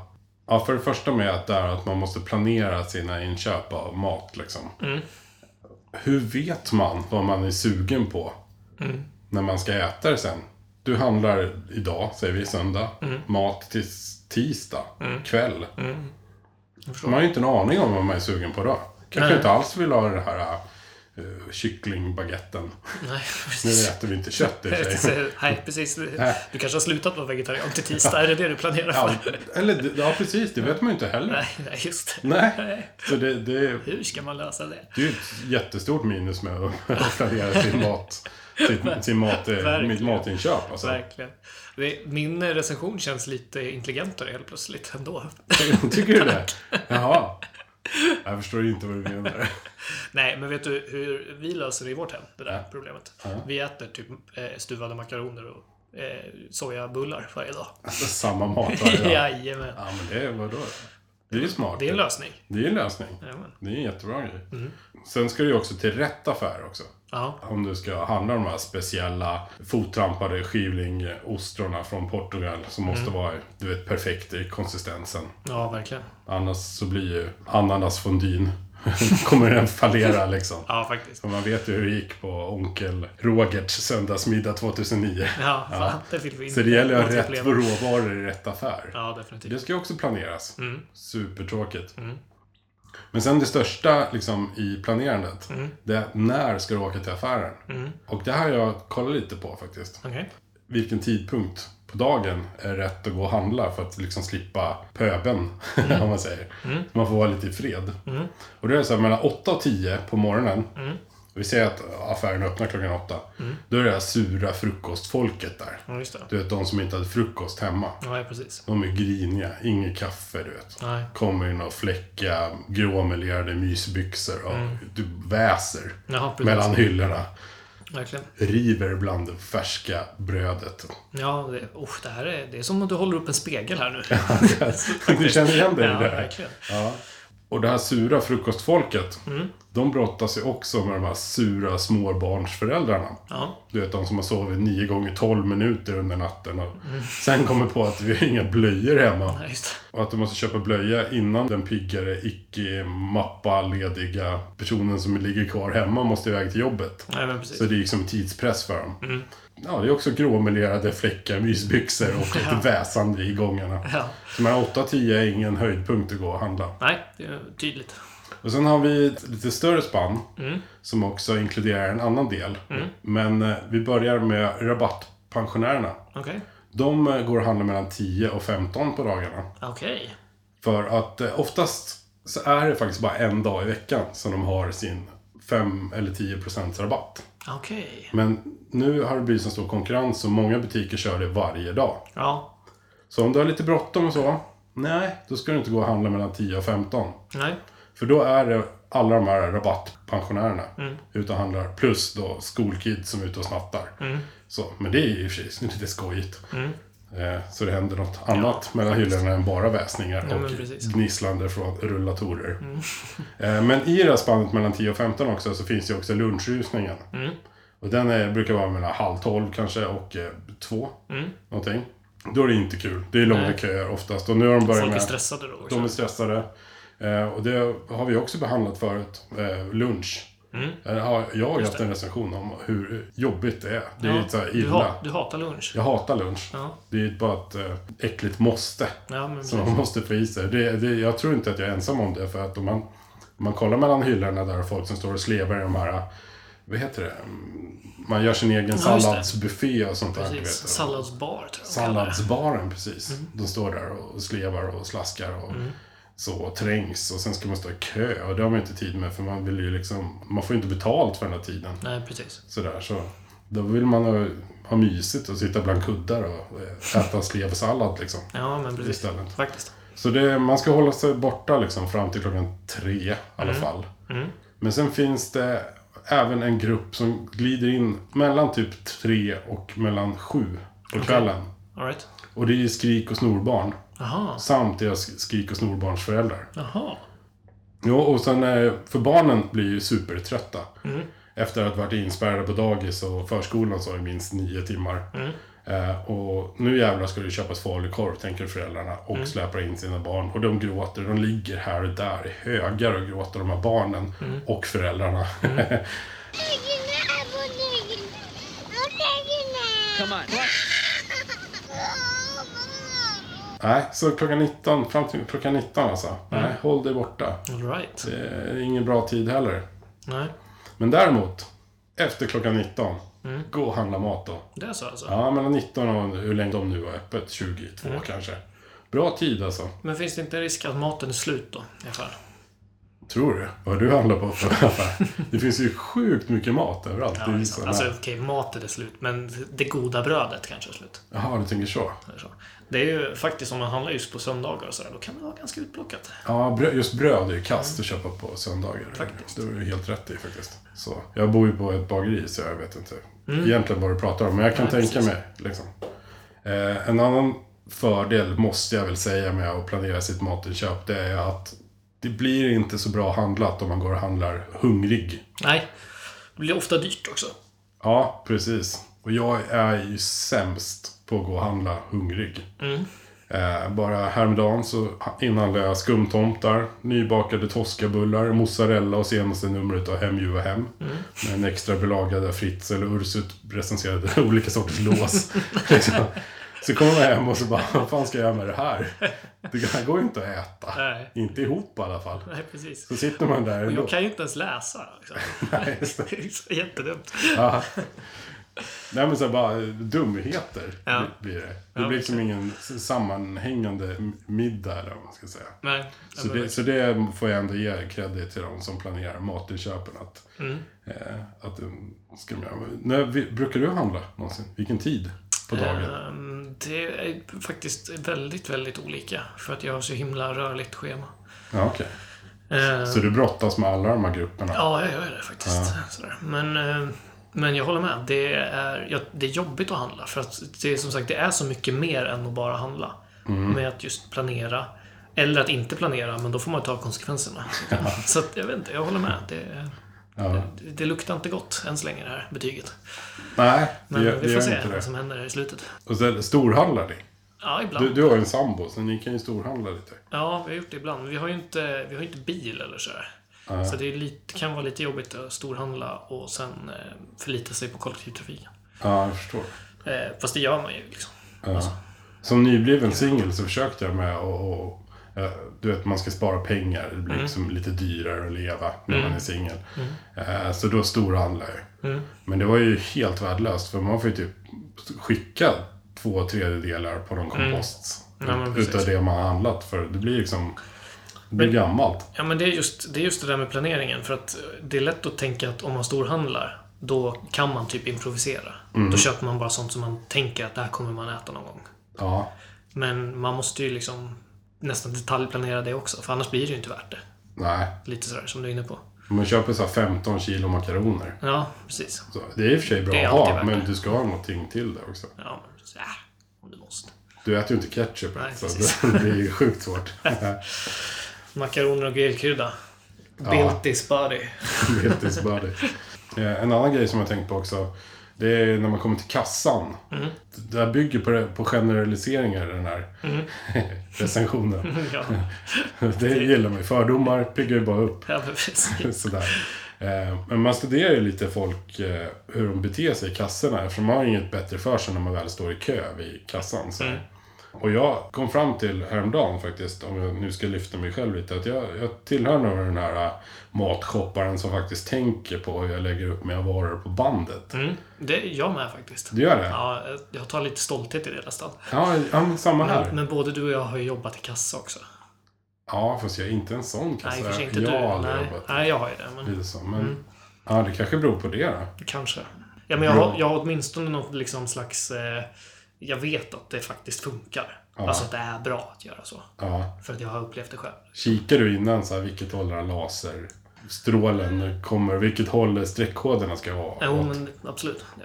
Ja, för det första med att, det är att man måste planera sina inköp av mat. Liksom. Mm. Hur vet man vad man är sugen på Mm. när man ska äta det sen? Du handlar idag, säger vi söndag, Mm. mat till tisdag kväll. Man har ju inte en aning om vad man är sugen på då. Kanske Nej. inte alls vill ha det här eh, kycklingbaguetten. Nej, Nu precis. äter vi inte kött i och Jag för tänkte sig. säga, Nej, precis. Du kanske har slutat vara vegetarian till tisdag. Är det det du planerar Ja, för? eller, ja, precis. Det vet man ju inte heller. Nej, nej, just det. Nej. Så det, det, Hur ska man lösa det? det är ju ett jättestort minus med att planera sin mat. Sin, sin mat, eh, Verkligen. mitt matinköp alltså. Verkligen. Det, min recension känns lite intelligentare helt plötsligt ändå. Tycker du det? Jaha. Jag förstår inte vad du menar. Nej, men vet du hur vi löser det i vårt hem? Det där problemet. Vi äter typ eh, stuvade makaroner och eh, sojabullar varje dag. Alltså, Samma mat varje dag. Jajamän. Ja, men det, vadå? Det är ju smart. Det är en lösning. Det är en lösning. Jajamän. Det är en jättebra grej. Sen ska du ju också till rätt affär också. Ja. Om du ska handla de här speciella fottrampade skivlingostrarna från Portugal som måste vara du vet, perfekt i konsistensen. ja, verkligen. Annars så blir ju ananasfondyn kommer den fallera liksom. Ja, faktiskt. För man vet ju hur det gick på onkel Rogerts söndagsmiddag 2009. Ja, fan, det vill vi inte Så det gäller att ha rätt återuppleva. råvaror i rätt affär. Ja, Mm. definitivt. Det ska ju också planeras. Supertråkigt. Mm. Men sen det största liksom, i planerandet, Mm. det är när ska du åka till affären? Och det här har jag kollat lite på faktiskt. Okej. Vilken tidpunkt på dagen är rätt att gå och handla för att liksom slippa pöben, Mm. om man säger. Så man får vara lite i fred. Och då är det så här, mellan 8 och 10 på morgonen, Mm. vi säger att affären öppnar klockan 8, då är det här sura frukostfolket där. Ja, just det. Du vet, de som inte hade frukost hemma. Ja, precis. De är griniga, inget kaffe du vet. Nej. Kommer in och fläcka gråmelerade mysbyxor och du väser Mm. Jaha, precis. mellan hyllorna. Verkligen. River bland det färska brödet. Ja, det, oh, det här är, det är som att du håller upp en spegel här nu. du känner igen dig i Ja, det? verkligen. Ja. Och det här sura frukostfolket, Mm. de brottas ju också med de här sura småbarnsföräldrarna. Ja, Du vet de som har sovit 9 gånger 12 minuter under natten och Mm. sen kommer på att vi har inga blöjor hemma. ja, just det. Och att du måste köpa blöja innan den piggare, icke-mappa, lediga personen som ligger kvar hemma måste iväg till jobbet. Nej, men precis. Så det är liksom tidspress för dem. Ja, det är också gråmelerade fläckar, mysbyxor och lite väsande i gångarna. Ja. Så mellan 8 och 10 är ingen höjdpunkt att gå och handla. Nej, det är tydligt. Och sen har vi ett lite större spann som också inkluderar en annan del. Men eh, vi börjar med rabattpensionärerna. Okej. De eh, går och handlar mellan 10 och 15 på dagarna. Okej. För att eh, oftast så är det faktiskt bara en dag i veckan som de har sin 5 eller 10 procents rabatt. Okej. Men nu har det blivit så stor konkurrens och många butiker kör det varje dag. Ja. Så om du har lite bråttom och så, nej, då ska du inte gå och handla mellan 10 och 15. Nej. För då är det alla de här rabattpensionärerna Mm. ute och handlar. Plus då skolkids som är ute och snattar. Mm. Så, men det är ju i och för sig lite skojigt. Eh, Så det händer något annat mellan hyllorna än bara väsningar men och precis. Mm. gnisslande från rullatorer. Eh, Men i det här spannet mellan 10 och 15 också så finns det ju också lunchrusningen. Mm. Och den är, brukar vara mellan halv tolv kanske och eh, två. Mm. Någonting. Då är det inte kul. Det är långa köer oftast. Och nu har de börjat Folk är med... stressade då också. De är stressade. Eh, och det har vi också behandlat förut. Eh, lunch. Mm. Eh, ja, jag har haft en recension om hur jobbigt det är. Det är Ja, lite så här du, illa. hat, du hatar lunch? Jag hatar lunch. Ja. Det är bara ett eh, äckligt måste. Ja, men Som man måste få i sig. Det, det, jag tror inte att jag är ensam om det. För att om man, om man kollar mellan hyllorna där och folk som står och slevar i de här... Vad heter det? Mm, Man gör sin egen Ja, just det. salladsbuffé och sånt där. du Precis. vet. Salladsbar, tror jag de kallar det. Salladsbaren, precis. De står där och slevar och slaskar och så och trängs. Och sen ska man stå i kö och det har man ju inte tid med för man vill ju liksom... Man får ju inte betalt för den här tiden. Nej, precis. Sådär, så då vill man ha, ha mysigt och sitta bland kuddar och eh, äta slevsallad liksom. Ja, men precis. Istället. Faktiskt. Så det, man ska hålla sig borta liksom fram till klockan tre i alla fall. Men sen finns det även en grupp som glider in mellan typ tre och mellan sju på kvällen. All right. Och det är ju skrik och snorbarn. Jaha. Samt deras skrik och snorbarnsföräldrar. Jaha. Jo, och sen eh, för barnen blir ju supertrötta. Efter att ha varit inspärrade på dagis och förskolan så i minst nio timmar. Eh, och nu jävlar ska det köpas falukorv, tänker föräldrarna. Och släpar in sina barn. Och de gråter. De ligger här och där i högar och gråter, de här barnen. Och föräldrarna. Nej, så klockan 19, fram till klockan Mm. 19 alltså. Nej, håll dig borta. All right. Det är ingen bra tid heller. Nej. Men däremot, efter klockan 19, gå och handla mat då. Det är så alltså? Ja, mellan 19 och hur länge de nu har öppet, 22 Mm. kanske. Bra tid alltså. Men finns det inte risk att maten är slut då? I alla fall? Tror du? Vad har du handlat på för affär? Det finns ju sjukt mycket mat överallt. Ja, det är ju liksom. såna- Alltså okej, maten är slut, men det goda brödet kanske är slut. Jaha, du tänker så. Eller så. Det är ju faktiskt om man handlar just på söndagar och sådär, då kan det vara ganska utplockat. Ja, brö- just bröd är ju kast att köpa på söndagar. Faktiskt. Det har du helt rätt i faktiskt. Så, jag bor ju på ett bageri så jag vet inte egentligen vad du pratar om. Men jag kan tänka mig. Liksom. Eh, en annan fördel måste jag väl säga med att planera sitt matinköp. Det är att det blir inte så bra handlat om man går och handlar hungrig. Nej, det blir ofta dyrt också. Ja, precis. Och jag är ju sämst på att gå och handla hungrig. Mm. Eh, bara häromdagen så inhandlade jag skumtomtar, nybakade toskabullar, mozzarella och senaste numret av Hem Juva Hem. Mm. Med en extra belaga där Fritz eller Ursut recenserade olika sorters lås. liksom. Så kommer man hem och så bara, vad fan ska jag göra med det här? Det här går ju inte att äta. Nej. Inte ihop i alla fall. Nej, precis. Så sitter man där ändå. Jag kan ju inte ens läsa. Liksom. Nej, just det. Det är så Jättedumt. Ja. Nej men så här bara eh, dumheter Ja. blir det. Det blir liksom ingen s- sammanhängande m- middag eller vad man ska säga. Nej, Så det, så det får jag ändå ge credit till de som planerar matinköpen. Att, Mm. eh, att um, ska man göra. När, vi, brukar du handla någonsin? Vilken tid på dagen? Ehm, det är faktiskt väldigt, väldigt olika. För att jag har så himla rörligt schema. Ja, okej. Ehm, Så du brottas med alla de här grupperna? Ja, jag gör det faktiskt. Sådär. Men, eh, men jag håller med. Det är, ja, det är jobbigt att handla. För att det är som sagt, det är så mycket mer än att bara handla. Mm. Med att just planera. Eller att inte planera, men då får man ta konsekvenserna. Så att, jag vet inte, jag håller med. Det, Ja. det, det luktar inte gott än så länge det här betyget. Nej, det, Men gör- det vi får gör se Alltså- inte vad det. som händer här i slutet. Och sen, storhandlar ni? Ja, ibland. Du, du har ju en sambo, så ni kan ju storhandla lite. Ja, vi har gjort det ibland. Men vi har ju inte, vi har ju inte bil eller sådär. Så det är lite, kan vara lite jobbigt att storhandla och sen eh, förlita sig på kollektivtrafiken. Ja, jag förstår. Eh, fast det gör man ju liksom. Som nybliven singel så försökte jag med att och, eh, du vet, man ska spara pengar. Det blir Mm. liksom lite dyrare att leva när man är singel. Mm. Eh, Så då storhandlade jag. Men det var ju helt värdelöst för man får ju typ skicka två tredjedelar på någon kompost. Mm. Ja, men precis. utav det man har handlat för. Det blir liksom... Det blir gammalt. Ja, men det är, just, det är just det där med planeringen. För att eh, det är lätt att tänka att om man storhandlar, då kan man typ improvisera. Mm. Då köper man bara sånt som man tänker att det här kommer man äta någon gång. Ja. Men man måste ju liksom nästan detaljplanera det också, för annars blir det ju inte värt det. Nej. Lite sådär som du är inne på. Man köper så här 15 kilo makaroner. Ja, precis. Så det är i och för sig bra Det är att alltid ha, värt men det. du ska ha någonting till det också. Ja, men så här, om du måste. Du äter ju inte ketchup, Nej, så precis. det blir ju sjukt svårt. Makaroner och grillkrydda. Biltis body. Biltis buddy. Eh, En annan grej som jag tänkt på också. Det är när man kommer till kassan. Mm. Det där bygger på, det- på generaliseringar, den här recensionen. Mm. ja, Det gillar man ju. Fördomar piggar ju bara upp. ja, men precis. Sådär. Eh, Men man studerar ju lite folk, eh, hur de beter sig i kassorna. Eftersom man har inget bättre för sig när man väl står i kö vid kassan. Så. Mm. Och jag kom fram till häromdagen faktiskt, om jag nu ska lyfta mig själv lite, att jag, jag tillhör nog den här eh, matshopparen som faktiskt tänker på hur jag lägger upp mina varor på bandet. Mm, det är jag med faktiskt. Du gör det? Ja, eh, jag tar lite stolthet i det nästan. Ja, ja men samma här. Men, men både du och jag har ju jobbat i kassa också. Ja, fast jag är inte en sån Nej, i kassa. och för sig inte Alltså, jag du. har aldrig Nej. jobbat Mm. Nej, Mm. jag har ju det. Men lite så. Men ja, det kanske beror på det då. kanske. Ja, men jag, Bra. har, jag har åtminstone något liksom slags... Eh, jag vet att det faktiskt funkar. Alltså att det är bra att göra så. Ja. För att jag har upplevt det själv. Kikar du innan så här, vilket håll den här laserstrålen kommer, vilket håll streckkoderna ska vara Jo, åt, men absolut. Ja.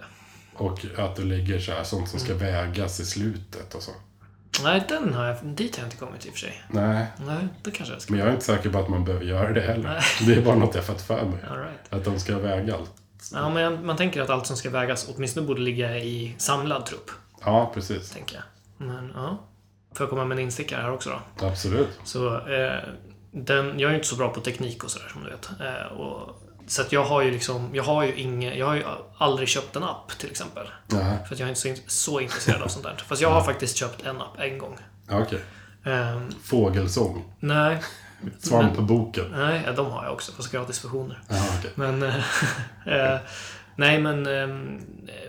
och att du lägger så här, sånt som ska vägas i slutet och så. Nej, den har jag, dit har jag inte kommit i och för sig. Nej, Nej, det kanske jag ska. men jag är inte säker på att man behöver göra det heller. Det är bara något jag fått för mig. All right. Att de ska väga allt. Ja, men man tänker att allt som ska vägas åtminstone borde ligga i samlad trupp. Ja, precis. Tänker jag. Men ja. Får jag komma med en instickare här också då? Absolut. Så eh, den, jag är ju inte så bra på teknik och sådär som du vet. Eh, och, så att jag har ju liksom, jag har ju inge, jag har ju aldrig köpt en app till exempel. Nej, För att jag är inte så, in- så intresserad av sånt där. Fast jag har faktiskt köpt en app en gång. ja, okej. Ehm, Fågelsång. nej, Svampboken. Nej, ja, de har jag också, fast gratisversioner. Ja, okej. Men... eh, eh, nej, men... Eh,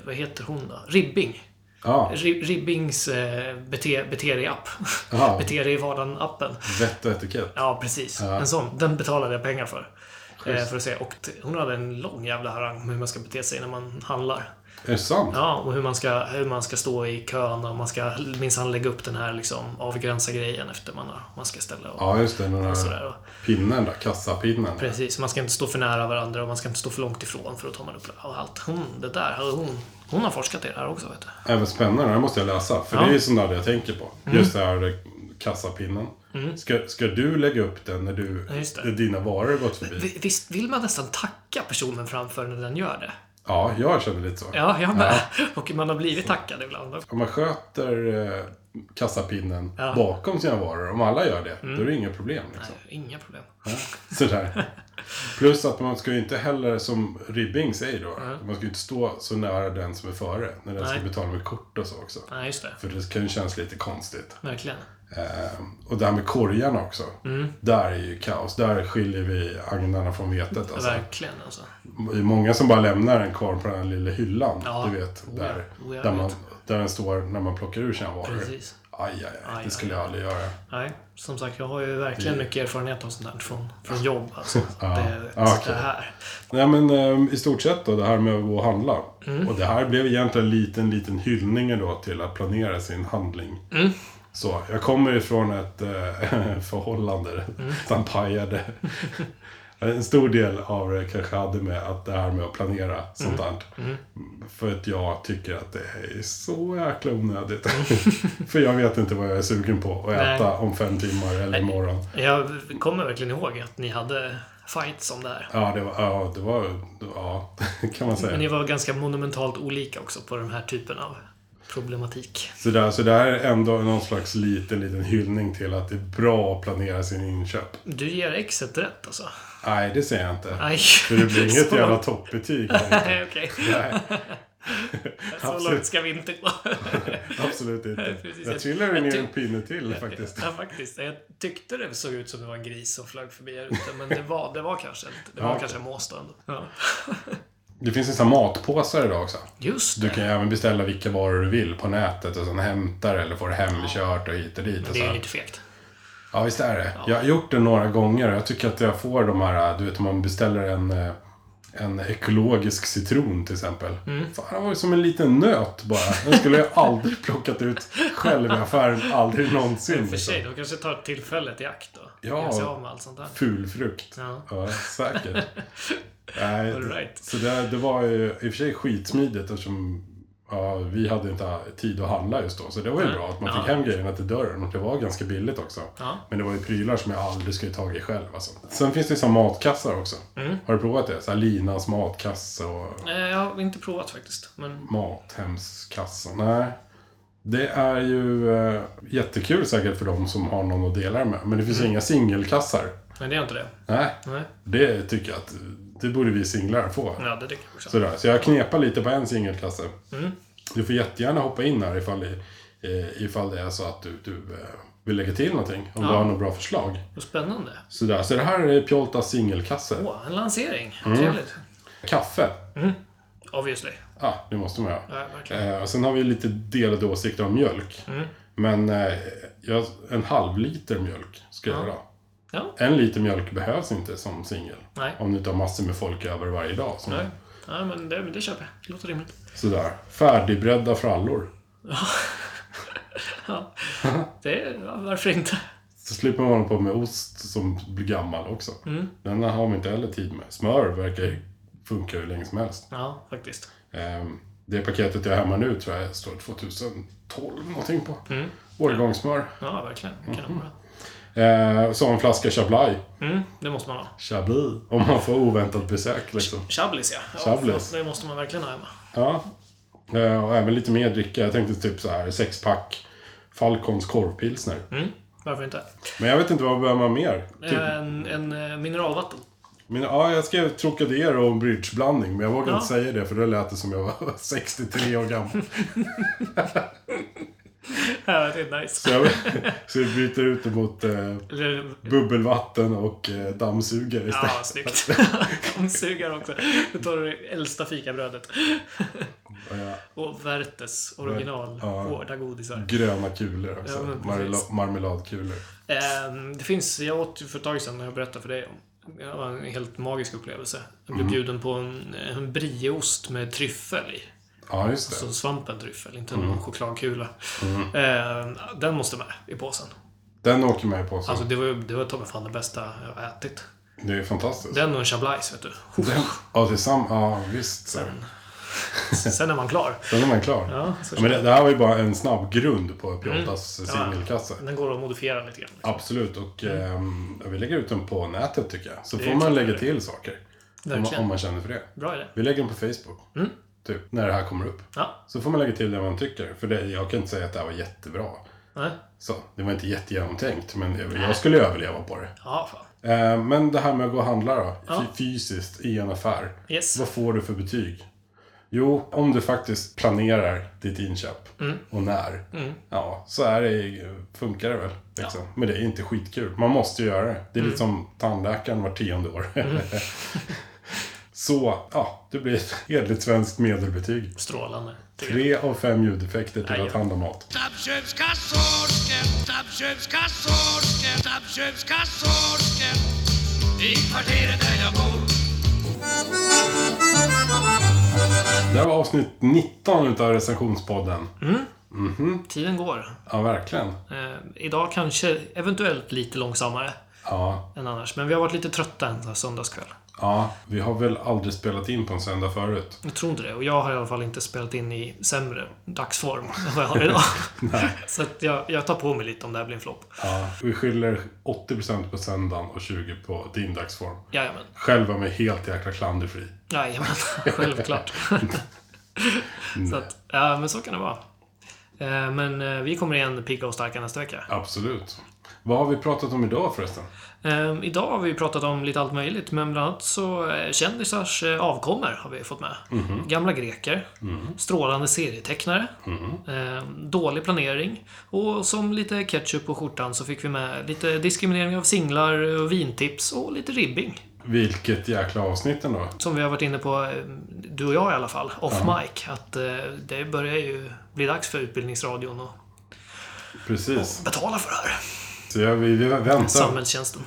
vad heter hon då? Ribbing. Ja, Ri- Ribbings eh, bete, Beteri-app. Jaha. Beteri i vardagen-appen. vett och etikett. Ja, precis. En sån. Den betalade jag pengar för. Eh, för att se. Och t- hon hade en lång jävla harang om hur man ska bete sig när man handlar. Är det sant? Ja, och hur man ska, hur man ska stå i kön och man ska minsann lägga upp den här liksom avgränsa grejen efter man, har, man ska ställa och Ja, just det. Den sådär. där Och, pinnen där, kassapinnen. precis, man ska inte stå för nära varandra och man ska inte stå för långt ifrån för då tar man upp och allt. Hon, det där, hade hon, hon har forskat i det här också vet du. Även spännande, det här måste jag läsa. För det är ju sån där jag tänker på. Mm. Just det här eh, kassapinnen. Ska, ska du lägga upp den när du, Ja, just det. när dina varor har gått förbi? Vi- Visst vill man nästan tacka personen framför när den gör det? Ja, jag känner lite så. Ja, jag med. Och man har blivit tackad ibland. Om man sköter eh, kassapinnen bakom sina varor, om alla gör det, Mm. då är det inga problem. Liksom. Inga problem. Sådär. Plus att man ska ju inte heller, som Ribbing säger då, man ska ju inte stå så nära den som är före. När den Mm. Nej. ska betala med kort och så också. Nej, just det. För det kan ju kännas lite konstigt. Verkligen. Ehm, och det här med korgarna också. Mm. Där är ju kaos. Där skiljer vi agnarna från vetet. Alltså. Verkligen alltså. Det är många som bara lämnar den kvar på den här lilla hyllan. Ja. Du vet, där, Oh ja, oh ja, där, jag man, vet. där den står när man plockar ur sina varor. Precis. Aj, aj, aj. Det skulle jag aldrig göra. Nej, som sagt, jag har ju verkligen mycket erfarenhet av sånt här från, från jobb. Alltså. det, Ja, Ah. okej. det här. Nej men ehm, i stort sett då, det här med att gå och handla. Mm. Och det här blev egentligen en liten, liten hyllning då till att planera sin handling. Mm. Så, jag kommer ifrån ett eh, förhållande Mm. som pajade. En stor del av det kanske hade med att det här med att planera sånt Mm. där. För att jag tycker att det är så jäkla onödigt. För jag vet inte vad jag är sugen på att Mm. Nej. äta om fem timmar eller imorgon. Jag kommer verkligen ihåg att ni hade fights om det här. Ja, det var, ja, det var, ja, kan man säga. Men ni var ganska monumentalt olika också på den här typen av problematik. Så där, så det här är ändå någon slags liten, liten hyllning till att det är bra att planera sin inköp. Du ger exet rätt alltså? Nej, det säger jag inte. Nej. För det blir inget Så jävla långt- toppbetyg. här. Nej, okej. Nej, Så långt Absolut. ska vi inte gå. absolut inte. precis. Jag trillade Jag ner ty- en pinne till faktiskt. Ja, faktiskt. Jag tyckte det såg ut som det var en gris som flög förbi här ute, men det var, det var kanske inte. Det var Ja. kanske en mås då ändå. Ja. Det finns en sån här matpåsar idag också. Just Du det. kan ju även beställa vilka varor du vill på nätet och sen hämtar eller får hemkört och hit och dit. Men det Och så. är ju här. lite fegt. Ja, visst är det. Jag har gjort det några gånger och jag tycker att jag får de här, du vet om man beställer en, eh, en ekologisk citron till exempel. Mm. Fan, det var ju som en liten nöt bara. Den skulle jag aldrig plockat ut själv i affären, aldrig någonsin. I och för sig, liksom. de kanske tar tillfället i akt då. Ja. Göra sig av med allt sånt där. Ful frukt. Ja. Ja, säkert. Nej, All right. Så det, det var ju i och för sig skitsmidigt eftersom ja, vi hade inte tid att handla just då. Så det var ju bra att man fick hem grejerna till dörren och det var ganska billigt också. Ja. Men det var ju prylar som jag aldrig skulle tagit själv. Alltså. Sen finns det ju som matkassar också. Mm. Har du provat det? Så här Linas matkasse och Eh, Jag har inte provat faktiskt. Men Mathemskassa. Nej. Det är ju eh, jättekul säkert för de som har någon att dela det med. Men det Mm. finns ju inga singelkassar. nej, det är inte det. Nej, Nej. det tycker jag att det borde vi singlar få. Ja, det tycker jag också. Sådär. Så jag knepar lite på en singelklasse. Mm. Du får jättegärna hoppa in här ifall, det- eh, ifall det är så att du, du eh, vill lägga till någonting. Om du har något bra förslag. Och spännande. Sådär. Så det här är Pjoltas singelkasse. Åh, en lansering. Mm. Trevligt. Kaffe. Obviously. Ja, ah, det måste man göra. Mm. Ja, Mm. verkligen. Eh, och sen har vi lite delade åsikter om mjölk. Men eh, jag, en halv liter mjölk ska jag göra. Ja. En liter mjölk behövs inte som singel. Nej. Om du inte har massor med folk över varje dag. Som, Nej. Ja, men det, men det köper jag. Det låter rimligt. Sådär. Färdigbredda frallor. Ja. Det, är- ja, varför inte? Så slipper man hålla på med ost som blir gammal också. Den har man inte heller tid med. Smör verkar ju funka hur länge som helst. Ja, faktiskt. Ehm, Det paketet jag har hemma nu tror jag står 2012 någonting på. Årgångssmör. Ja, verkligen. Det Kan mm. Eh, Så en flaska Chablis. mm, det måste man ha. Chablis. Om man får oväntat besök liksom. Chablis, ja. ja Chablis. Det måste man verkligen ha hemma. Ja. Eh, Och även lite mer dricka. Jag tänkte typ så här sexpack Falcons korvpilsner. Mm, varför inte? Men jag vet inte vad behöver man mer? Typ, En, en eh, mineralvatten. Men, ja, jag skrev Trocadero och bridgeblandning, men jag vågade Ja. inte säga det för då lät det som jag var 63 år gammal. Ja, det är Så, nice. jag, så vi byter ut det mot eh, Eller, bubbelvatten och eh, dammsugare istället. ja, snyggt. Dammsugare också. Då tar du det äldsta fikabrödet. Eh, Och Werthers original Ja. hårda godisar. gröna kulor också. Ja, men precis. Marmela- marmeladkulor. Ehm, Det finns, jag åt ju för ett tag sedan när jag berättade för dig om. Det var en helt magisk upplevelse. Jag blev bjuden på en, en brieost med tryffel i. Ja, just det. Så svampen tryffel, inte någon chokladkula. Ehm, Den måste med i påsen. Den åker med på så. Alltså det var, ju- det var ta mig fan det bästa jag har ätit. det är fantastiskt. Den och en chablais, vet du. Den, ja, det är sam- ja, visst. Sen, sen är man klar. Sen är man Ja, klar. så Mm. Ja, men det, det här var ju bara en snabb grund på Piottas singelkassa. Den går att modifiera lite grann. Absolut, och ehm, vi lägger ut den på nätet tycker jag. Så Mm. Det får är man klart. lägga till saker. Om man, Verkligen. om man känner för det. Bra idé. Vi lägger den på Facebook. Typ, när det här kommer upp. Ja. Så får man lägga till det man tycker. För det, jag kan inte säga att det här var jättebra. Nej. Så, det var inte jättegenomtänkt, men jag- jag skulle ju överleva på det. Ja, fan. Eh, Men det här med att gå och handla då, Ja. fy- fysiskt i en affär. Yes. Vad får du för betyg? Jo, om du faktiskt planerar ditt inköp Mm. och när. Ja, så är det, funkar det väl. Liksom. Men det är inte skitkul. Man måste ju göra det. Det är Mm. lite som tandläkaren var tionde år. så, ja, det blir ett enligt svenskt medelbetyg. Strålande. tycker jag. Tre av fem ljudeffekter till att handla mat. Snabbköpskassårsken, snabbköpskassårsken, snabbköpskassårsken i kvarteret där jag bor. Det här var avsnitt 19 utav recensionspodden. Typ. Tiden går. Ja, verkligen. Eh, idag kanske, eventuellt lite långsammare Ja, än annars. Men vi har varit lite trötta en sån här söndagskväll. ja, vi har väl aldrig spelat in på en söndag förut. Jag tror inte det. Och jag har i alla fall inte spelat in i sämre dagsform än vad jag har idag. Så att jag, jag tar på mig lite om det här blir en flopp. Ja, vi skyller 80% på söndagen och 20% på din dagsform. Jajamän. Själv var mig helt jäkla klanderfri. Jajamän, självklart. så att, ja, men så kan det vara. Eh, Men eh, vi kommer igen pigga och starka nästa vecka. Absolut. Vad har vi pratat om idag förresten? Ehm, Idag har vi ju pratat om lite allt möjligt, men bland annat så eh, kändisars eh, avkommor har vi fått med. Gamla greker, strålande serietecknare, ehm, dålig planering och som lite ketchup på skjortan så fick vi med lite diskriminering av singlar, och vintips och lite ribbing. Vilket jäkla avsnitt ändå. Som vi har varit inne på, eh, du och jag i alla fall, off mic, att eh, det börjar ju bli dags för Utbildningsradion att Precis. betala för det här. Så ja, vi, vi, väntar, Samhällstjänsten.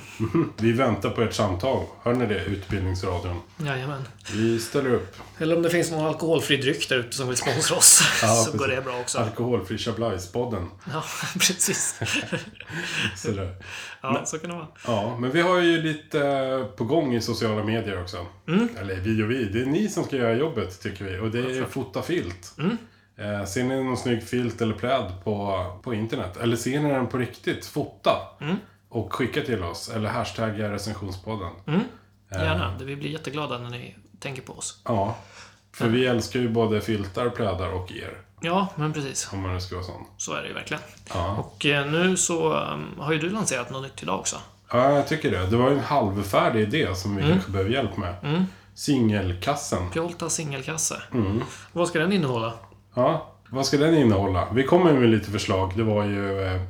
vi väntar på ert samtal. Hör ni det? Utbildningsradion. Jajamän. Vi ställer upp. Eller om det finns någon alkoholfri dryck där ute som vill sponsra oss. Ja, så precis. går det bra också. Alkoholfri Chablais-podden. Ja, precis. Sådär. Ja, så kan det vara. Ja, men vi har ju lite eh, på gång i sociala medier också. Mm. Eller vi och vi, det är ni som ska göra jobbet tycker vi. Och det är fota filt. Mm. Eh, Ser ni någon snygg filt eller pläd på, på internet, eller ser ni den på riktigt, fota. Mm. Och skicka till oss, eller hashtagga recensionspodden. Mm. Eh. Gärna. Vi blir jätteglada när ni tänker på oss. Ja, för vi älskar ju både filtar, plädar och er. Ja, men precis. Om man nu ska vara sån. Så är det ju verkligen. Ja. Och eh, nu så um, har ju du lanserat något nytt idag också. ja, jag tycker det. Det var ju en halvfärdig idé som Mm. vi kanske behöver hjälp med. Singelkassen. Pjoltas singelkasse. Mm. Vad ska den innehålla? Ja, vad ska den innehålla? Vi kommer med lite förslag. Det var ju eh, eh,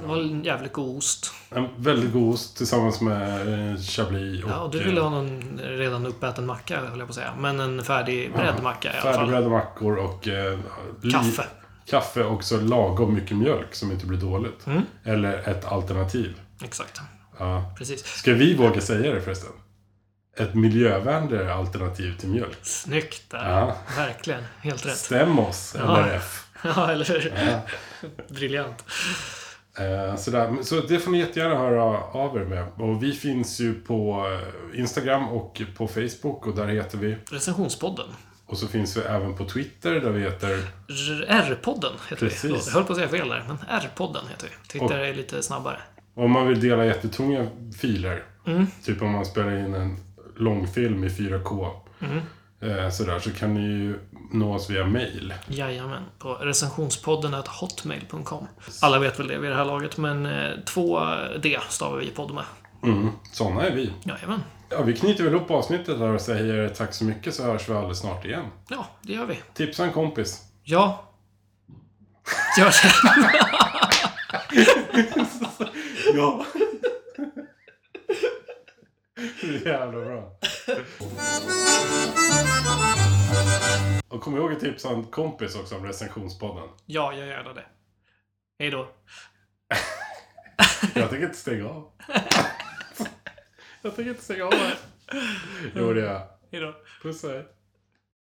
Det var en jävligt god ost. en väldigt god ost tillsammans med eh, chablis och Ja, och du eh, ville ha någon redan uppäten macka, höll jag på att säga. Men en färdigbredd macka i alla fall. färdigbrödda mackor eh, och eh, li- Kaffe. Kaffe och så lagom mycket mjölk som inte blir dåligt. Mm. Eller ett alternativ. Exakt. Ja. Precis. Ska vi våga säga det förresten? Ett miljövänligare alternativ till mjölk. Snyggt där. Ja. Verkligen. Helt rätt. Stäm oss, LRF. Ja, eller hur? Briljant. Eh, Sådär. Men Så det får ni jättegärna höra av er med. Och vi finns ju på eh, Instagram och på Facebook och där heter vi. Recensionspodden. Och så finns vi även på Twitter där vi heter... R- R-podden heter Precis. vi. Förlåt, Jag höll på att säga fel där, men R-podden heter vi. Twitter är lite snabbare. Om man vill dela jättetunga filer. Mm. Typ om man spelar in en långfilm i 4K. Mm. eh, Sådär, så kan ni ju nå oss via mail. Jajamän. På recensionspodden at hotmail.com. Alla vet väl det vid det här laget, men eh, två D stavar vi podd med. Mm. Sådana är vi. Jajamän. Ja, vi knyter väl upp avsnittet där och säger tack så mycket så hörs vi alldeles snart igen. Ja, det gör vi. Tipsa en kompis. Ja. Jag känner, Ja. Det är jävla bra. Och kom ihåg att tipsa en kompis också om recensionspodden. ja, jag gör det. Hej då. Jag tänker inte stänga av. Jag tänker inte stänga av här. Jo, det gör jag. Hej då. Puss och hej.